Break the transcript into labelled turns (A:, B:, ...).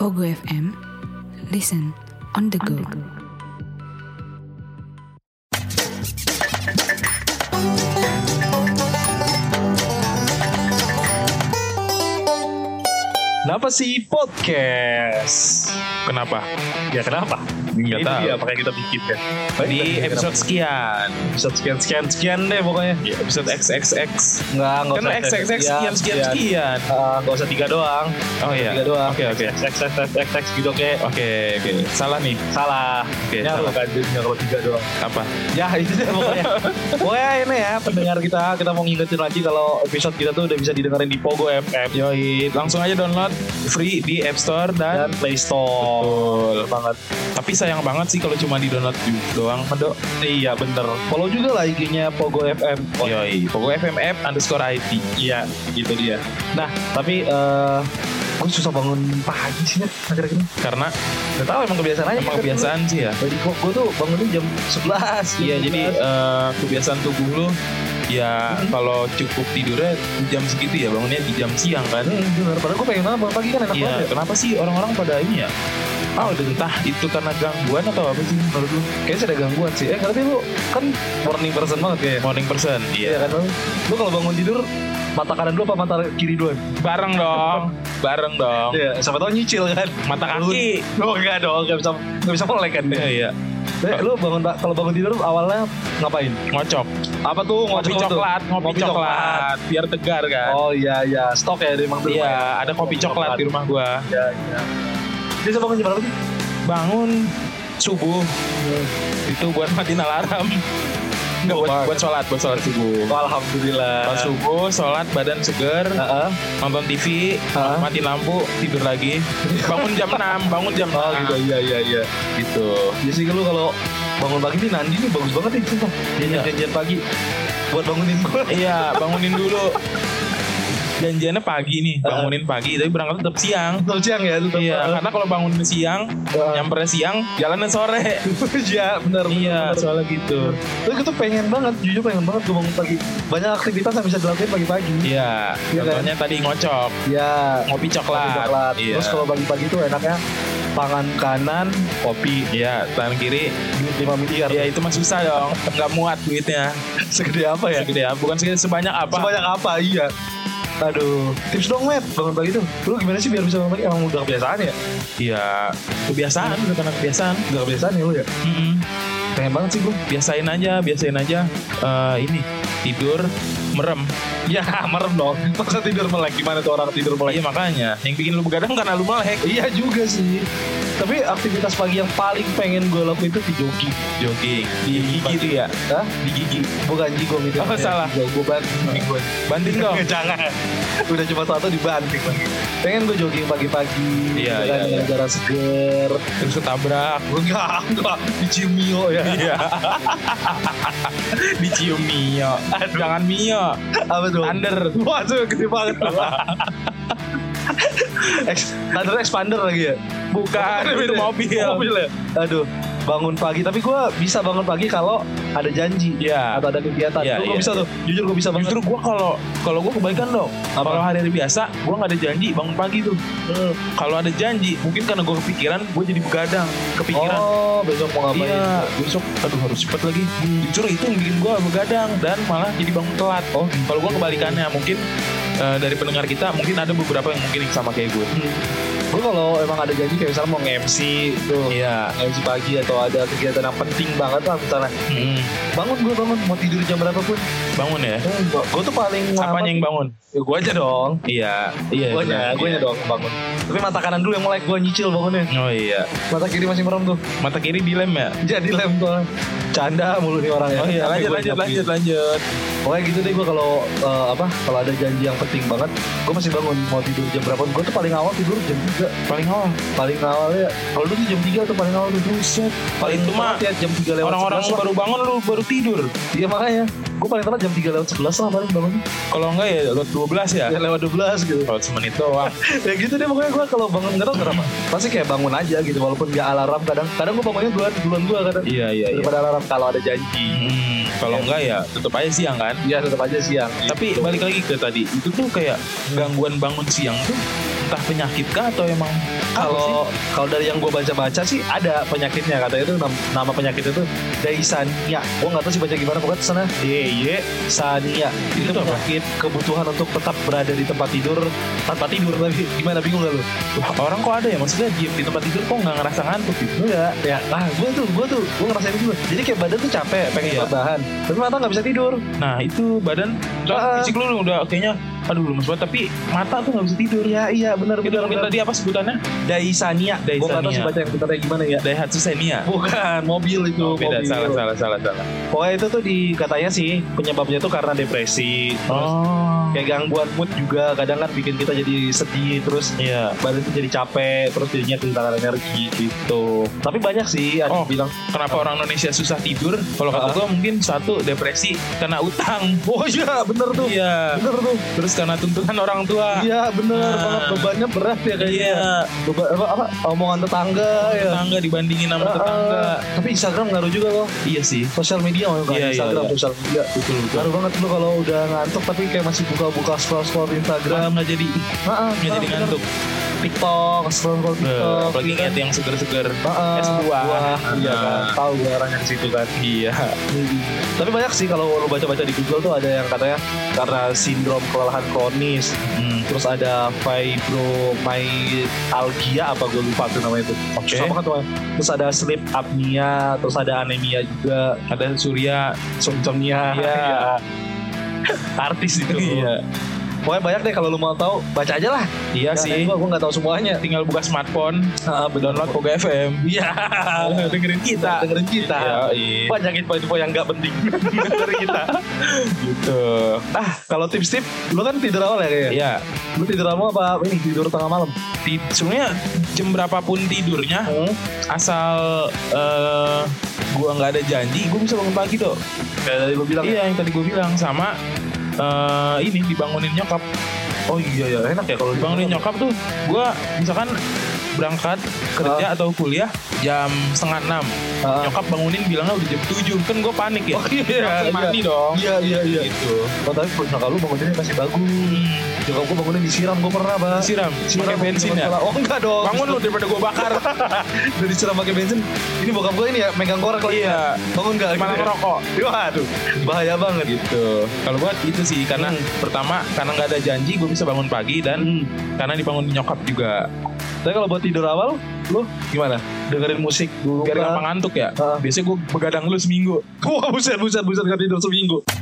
A: Ogo FM. Listen on the go.
B: Kenapa sih podcast?
C: Kenapa?
B: Ya kenapa?
C: Nggak
B: Ini
C: tahu.
B: dia makanya kita bikin kan.
C: Di episode sekian.
B: episode sekian Iya, sekian sekian deh pokoknya.
C: Ya, episode XXX.
B: Enggak, enggak
C: Kan XXX sekian sekian sekian.
B: Ah, Nggak usah tiga doang.
C: Oh iya.
B: Tiga doang.
C: Oke oke.
B: X, X, X, X, X, X, gitu kayak
C: Oke oke. Salah nih.
B: salah.
C: Oke,
B: ya,
C: salah.
B: bukan jadinya kalau tiga doang.
C: Apa?
B: Ya itu deh pokoknya. pokoknya ini ya pendengar kita kita mau ngingetin lagi kalau episode kita tuh udah bisa didengerin di Pogo FM
C: Yoi, langsung aja download free di App Store dan
B: dan Play Store.
C: Betul.
B: Banget.
C: Tapi sayang banget sih kalau cuma di download doang.
B: Mendok. Iya bener. Follow juga lah IG-nya Pogo FM. Oh,
C: Yoi, pokoknya FMF underscore IT.
B: Iya, gitu dia. Nah, tapi eh gue susah bangun pagi sih, Nat, akhir-akhir ini.
C: Karena
B: Gak tau emang kebiasaan aja.
C: emang kebiasaan sih ya.
B: Jadi gue, tuh bangunnya jam 11.
C: Iya, jadi eh, kebiasaan tubuh lu ya kalau cukup tidurnya jam segitu ya bangunnya di jam siang kan.
B: Hmm, bener. Padahal gue pengen banget bangun pagi kan enak
C: Iya,
B: banget. ya.
C: kenapa sih orang-orang pada ini ya? Ah, udah entah itu karena gangguan atau apa sih menurut lu?
B: Kayaknya ada gangguan sih. Eh, tapi lu kan morning person banget ya.
C: Morning person.
B: Iya
C: Iya.
B: kan lu? Lu kalau bangun tidur, mata kanan dulu apa mata kiri dulu?
C: Bareng dong. Bareng dong.
B: Iya, siapa tau nyicil kan.
C: Mata kaki.
B: Oh enggak dong, gak bisa, gak bisa melek kan.
C: Iya, iya.
B: Eh, lu bangun kalau bangun tidur awalnya ngapain?
C: Ngocok.
B: Apa tuh
C: Ngopi
B: tuh?
C: coklat, ngopi coklat biar tegar kan.
B: Oh iya iya, stok ya di rumah.
C: Iya, ada kopi coklat di rumah gua.
B: Iya iya. Bisa bangun jam berapa sih?
C: Bangun subuh itu buat matiin alarm. Enggak buat
B: Wah.
C: buat sholat, buat sholat subuh.
B: Oh, Alhamdulillah.
C: Sholat subuh, sholat badan seger,
B: Heeh.
C: nonton TV,
B: Ah.
C: matiin lampu, tidur lagi. Bangun jam 6, bangun jam 6.
B: Oh gitu iya iya iya.
C: gitu.
B: Jadi sih lu kalau bangun pagi nih Nandi nih bagus banget nih sumpah. Janjian janjian pagi buat bangunin gue.
C: Iya, bangunin dulu. Janjiannya pagi nih, bangunin pagi, tapi berangkat tetap siang.
B: Tetap siang ya, tetap.
C: Iya, karena kalau bangun siang,
B: Ah.
C: nyampernya siang, jalannya sore.
B: Iya benar.
C: iya,
B: benar.
C: soalnya gitu.
B: Tapi gue tuh pengen banget, jujur pengen banget gue bangun pagi. Banyak aktivitas yang bisa dilakuin pagi-pagi.
C: Iya,
B: Iya kan?
C: contohnya tadi ngocok,
B: Iya.
C: ngopi
B: Kopi
C: coklat.
B: coklat.
C: Iya.
B: Terus kalau pagi-pagi tuh enaknya tangan kanan
C: kopi, iya, tangan kiri.
B: duit 5 miliar.
C: Iya, itu mah susah dong. Nggak muat duitnya.
B: Segede apa ya?
C: Segede ya, bukan segede sebanyak apa.
B: Sebanyak apa? Iya. Aduh, tips dong, Matt. Bangun pagi tuh. Lu gimana sih biar bisa bangun pagi? Emang udah kebiasaan ya?
C: Iya, kebiasaan, udah karena kebiasaan.
B: Udah kebiasaan ya lu ya?
C: Mm-mm.
B: Pengen banget sih gue.
C: Biasain aja, biasain aja. Eh, ini tidur merem.
B: Ya, merem dong. Masa tidur melek? Gimana tuh orang tidur melek?
C: Iya makanya, yang bikin lu begadang karena lu melek.
B: Iya juga sih. Tapi aktivitas pagi yang paling pengen gue lakuin itu di jogging.
C: Jogging
B: Iya,
C: di gigi tuh ya,
B: Hah?
C: di gigi.
B: Bukan jigong itu.
C: Apa salah?
B: Gue banting gue.
C: Banting dong.
B: Jangan. Udah cuma satu dibanting lagi. Pengen gue jogging pagi-pagi.
C: Iya,
B: ya kan,
C: iya,
B: dengan
C: iya.
B: Udara seger.
C: Terus ketabrak.
B: Enggak, enggak. Di Cimio ya.
C: Iya. Dicium Mio. Jangan Mio.
B: Apa tuh?
C: Under.
B: Wah, itu gede banget. Ex- Thunder expander lagi ya?
C: Bukan, itu
B: beda.
C: mobil.
B: Mobil ya? Aduh, bangun pagi. Tapi gue bisa bangun pagi kalau ada janji.
C: Iya.
B: Atau ada kegiatan.
C: Iya,
B: Gua- gua
C: iya,
B: bisa
C: iya.
B: tuh. Jujur gue bisa banget.
C: Justru gua kalau kalau gua kebaikan dong.
B: Apa?
C: Kalau hari-hari biasa gua nggak ada janji bangun pagi tuh.
B: Hmm.
C: Kalau ada janji, mungkin karena gua kepikiran, gua jadi begadang, kepikiran.
B: Oh, besok mau ngapain.
C: Iya, besok aduh harus cepet lagi. Justru itu yang bikin gua begadang dan malah jadi bangun telat. Oh, kalau gua kebalikannya mungkin eh, dari pendengar kita mungkin ada beberapa yang mungkin sama kayak gue.
B: Gue kalau emang ada janji kayak misalnya mau nge-MC tuh.
C: Iya.
B: Nge-MC pagi atau ada kegiatan yang penting banget lah misalnya.
C: Mm-mm.
B: Bangun gue bangun. Mau tidur jam berapapun.
C: Hmm. Bangun ya.
B: gue tuh paling
C: Apanya yang bangun?
B: gue aja dong.
C: Iya, iya.
B: gue
C: benar.
B: nya, gue nya
C: Iya.
B: doang yang bangun. Tapi mata kanan dulu yang melek gue nyicil bangunnya.
C: Oh iya.
B: Mata kiri masih merem tuh.
C: Mata kiri dilem ya.
B: Jadi lem soalnya. Canda mulu nih orang ya.
C: Oh iya,
B: Tapi
C: lanjut
B: gua
C: lanjut
B: nyapu.
C: lanjut lanjut.
B: Pokoknya gitu deh gue kalau eh, apa kalau ada janji yang penting banget, gue masih bangun mau tidur jam berapa? Gue tuh paling awal tidur jam 3
C: Paling awal.
B: paling awalnya kalau lu tuh jam 3 tuh paling awal tuh buset paling
C: Itu mah
B: telat ya jam 3 lewat
C: Orang-orang
B: 11 lah.
C: baru bangun lu baru tidur.
B: iya makanya gue paling telat jam 3 lewat 11 lah paling bangun
C: Kalau enggak ya lewat 12 ya.
B: ya lewat 12 gitu
C: Lewat semenit doang.
B: ya gitu deh pokoknya gue kalau bangun nggak tau kenapa pasti kayak bangun aja gitu walaupun gak alarm kadang kadang gue bangunnya duluan duluan gue kadang
C: Iya iya iya.
B: daripada alarm kalau ada janji
C: Hmm, kalau enggak ya tetap aja siang kan.
B: ya tetap aja siang
C: Tapi balik lagi ke tadi, itu tuh kayak gangguan bangun siang tuh entah penyakit kah atau emang
B: Kalau kalau dari yang gue baca-baca sih ada penyakitnya katanya itu nam- nama penyakit itu Daisania. Gue nggak tahu sih baca gimana pokoknya sana
C: Iya,
B: Sania
C: Itu
B: itu,
C: apa?
B: penyakit kebutuhan untuk tetap berada di tempat tidur tanpa tidur tapi gimana bingung gak lu?
C: Wah, orang kok ada ya maksudnya di, di tempat tidur kok nggak ngerasa ngantuk gitu
B: Enggak, ya ah gue tuh gue tuh gue ngerasain itu jadi kayak badan tuh capek pengen
C: Iya.
B: rebahan tapi mata nggak bisa tidur
C: nah itu badan
B: Ah.
C: soalnya fisik lu udah kayaknya aduh lemes banget tapi mata tuh nggak bisa tidur
B: iya iya benar
C: itu
B: benar
C: mungkin
B: benar
C: tadi apa sebutannya
B: Daisania gue nggak tahu
C: Daisania.
B: sih baca yang benarnya gimana ya
C: Daihatsu Xenia
B: bukan mobil itu
C: oh, beda
B: mobil.
C: salah salah salah salah
B: pokoknya itu tuh di katanya sih penyebabnya tuh karena depresi terus
C: oh
B: kayak gangguan mood juga kadang kan bikin kita jadi sedih terus
C: iya
B: badan tuh jadi capek terus jadinya kehilangan energi gitu tapi banyak sih ada yang
C: Oh.
B: bilang
C: kenapa orang Indonesia susah tidur kalau kata
B: Ah.
C: gua mungkin satu depresi karena utang
B: oh iya bener tuh
C: iya
B: bener tuh
C: terus karena tuntutan orang tua
B: iya bener
C: Nah.
B: banget bebannya berat ya kayaknya
C: iya
B: Beba, apa, apa omongan tetangga ya
C: tetangga dibandingin sama
B: Ah,
C: tetangga
B: ah. tapi Instagram ngaruh juga loh
C: iya sih
B: sosial media loh
C: Iya,
B: kan
C: iya,
B: Instagram
C: iya.
B: sosial media
C: betul betul
B: ngaruh banget lu kalau udah ngantuk tapi kayak masih buka-buka scroll-scroll Instagram
C: Malah nggak jadi
B: Heeh,
C: nggak jadi ngantuk
B: TikTok scroll-scroll
C: Eh,
B: TikTok
C: apalagi
B: ya kan?
C: ingat yang seger-seger
B: Heeh,
C: es buah.
B: iya
C: Ah.
B: kan tahu gue arahnya ke situ kan
C: iya
B: tapi banyak sih kalau lu baca-baca di Google tuh ada yang katanya karena sindrom kelelahan kronis
C: Hmm.
B: terus ada fibromyalgia apa gue lupa tuh namanya itu
C: Oke.
B: Susah banget namanya. terus ada sleep apnea terus ada anemia juga
C: ada Surya
B: insomnia
C: Iya.
B: artis itu
C: Iya.
B: pokoknya banyak deh kalau lu mau tahu baca aja lah
C: iya
B: Jangan
C: sih
B: nanya gua gue nggak tahu semuanya
C: tinggal buka smartphone
B: Heeh, bener.
C: download Poga FM
B: iya
C: dengerin kita
B: dengerin kita
C: iya
B: banyak info-info yang nggak penting dari kita
C: gitu
B: ah kalau tips-tips lu kan tidur awal ya kayaknya
C: ya
B: lu tidur awal apa ini tidur tengah malam
C: ti- sebenarnya jam berapapun tidurnya
B: Hmm.
C: asal eh gua nggak ada janji gua bisa bangun pagi tuh
B: kayak tadi lu bilang ya.
C: iya yang tadi gua bilang sama eh ini dibangunin nyokap
B: oh iya ya enak ya kalau
C: bangunin nyokap tuh gua misalkan berangkat kerja atau kuliah jam setengah enam
B: Ah.
C: nyokap bangunin bilangnya udah jam tujuh kan gue panik ya
B: Oh, iya,
C: Langsung
B: iya.
C: mandi dong
B: iya iya iya
C: gitu
B: Oh, tapi nyokap lu bangunnya masih bagus nyokap gue bangunnya Hmm. disiram gue pernah bang
C: siram pakai bensin ya
B: Oh enggak dong.
C: bangun lu daripada gue bakar
B: Udah disiram pakai bensin. Ini bokap gue ini ya megang korek lagi.
C: iya
B: Bangun enggak?
C: malah ngerokok
B: Waduh, bahaya banget.
C: gitu kalau buat itu sih karena
B: Hmm.
C: pertama karena nggak ada janji gue bisa bangun pagi dan
B: Hmm.
C: karena dibangun nyokap juga
B: Tapi kalau buat tidur awal, lu
C: gimana
B: dengerin musik dulu.
C: biar
B: kan?
C: gampang ngantuk ya
B: Ah.
C: biasanya gue begadang lu seminggu
B: Wah, buset, buset, buset, gak tidur seminggu.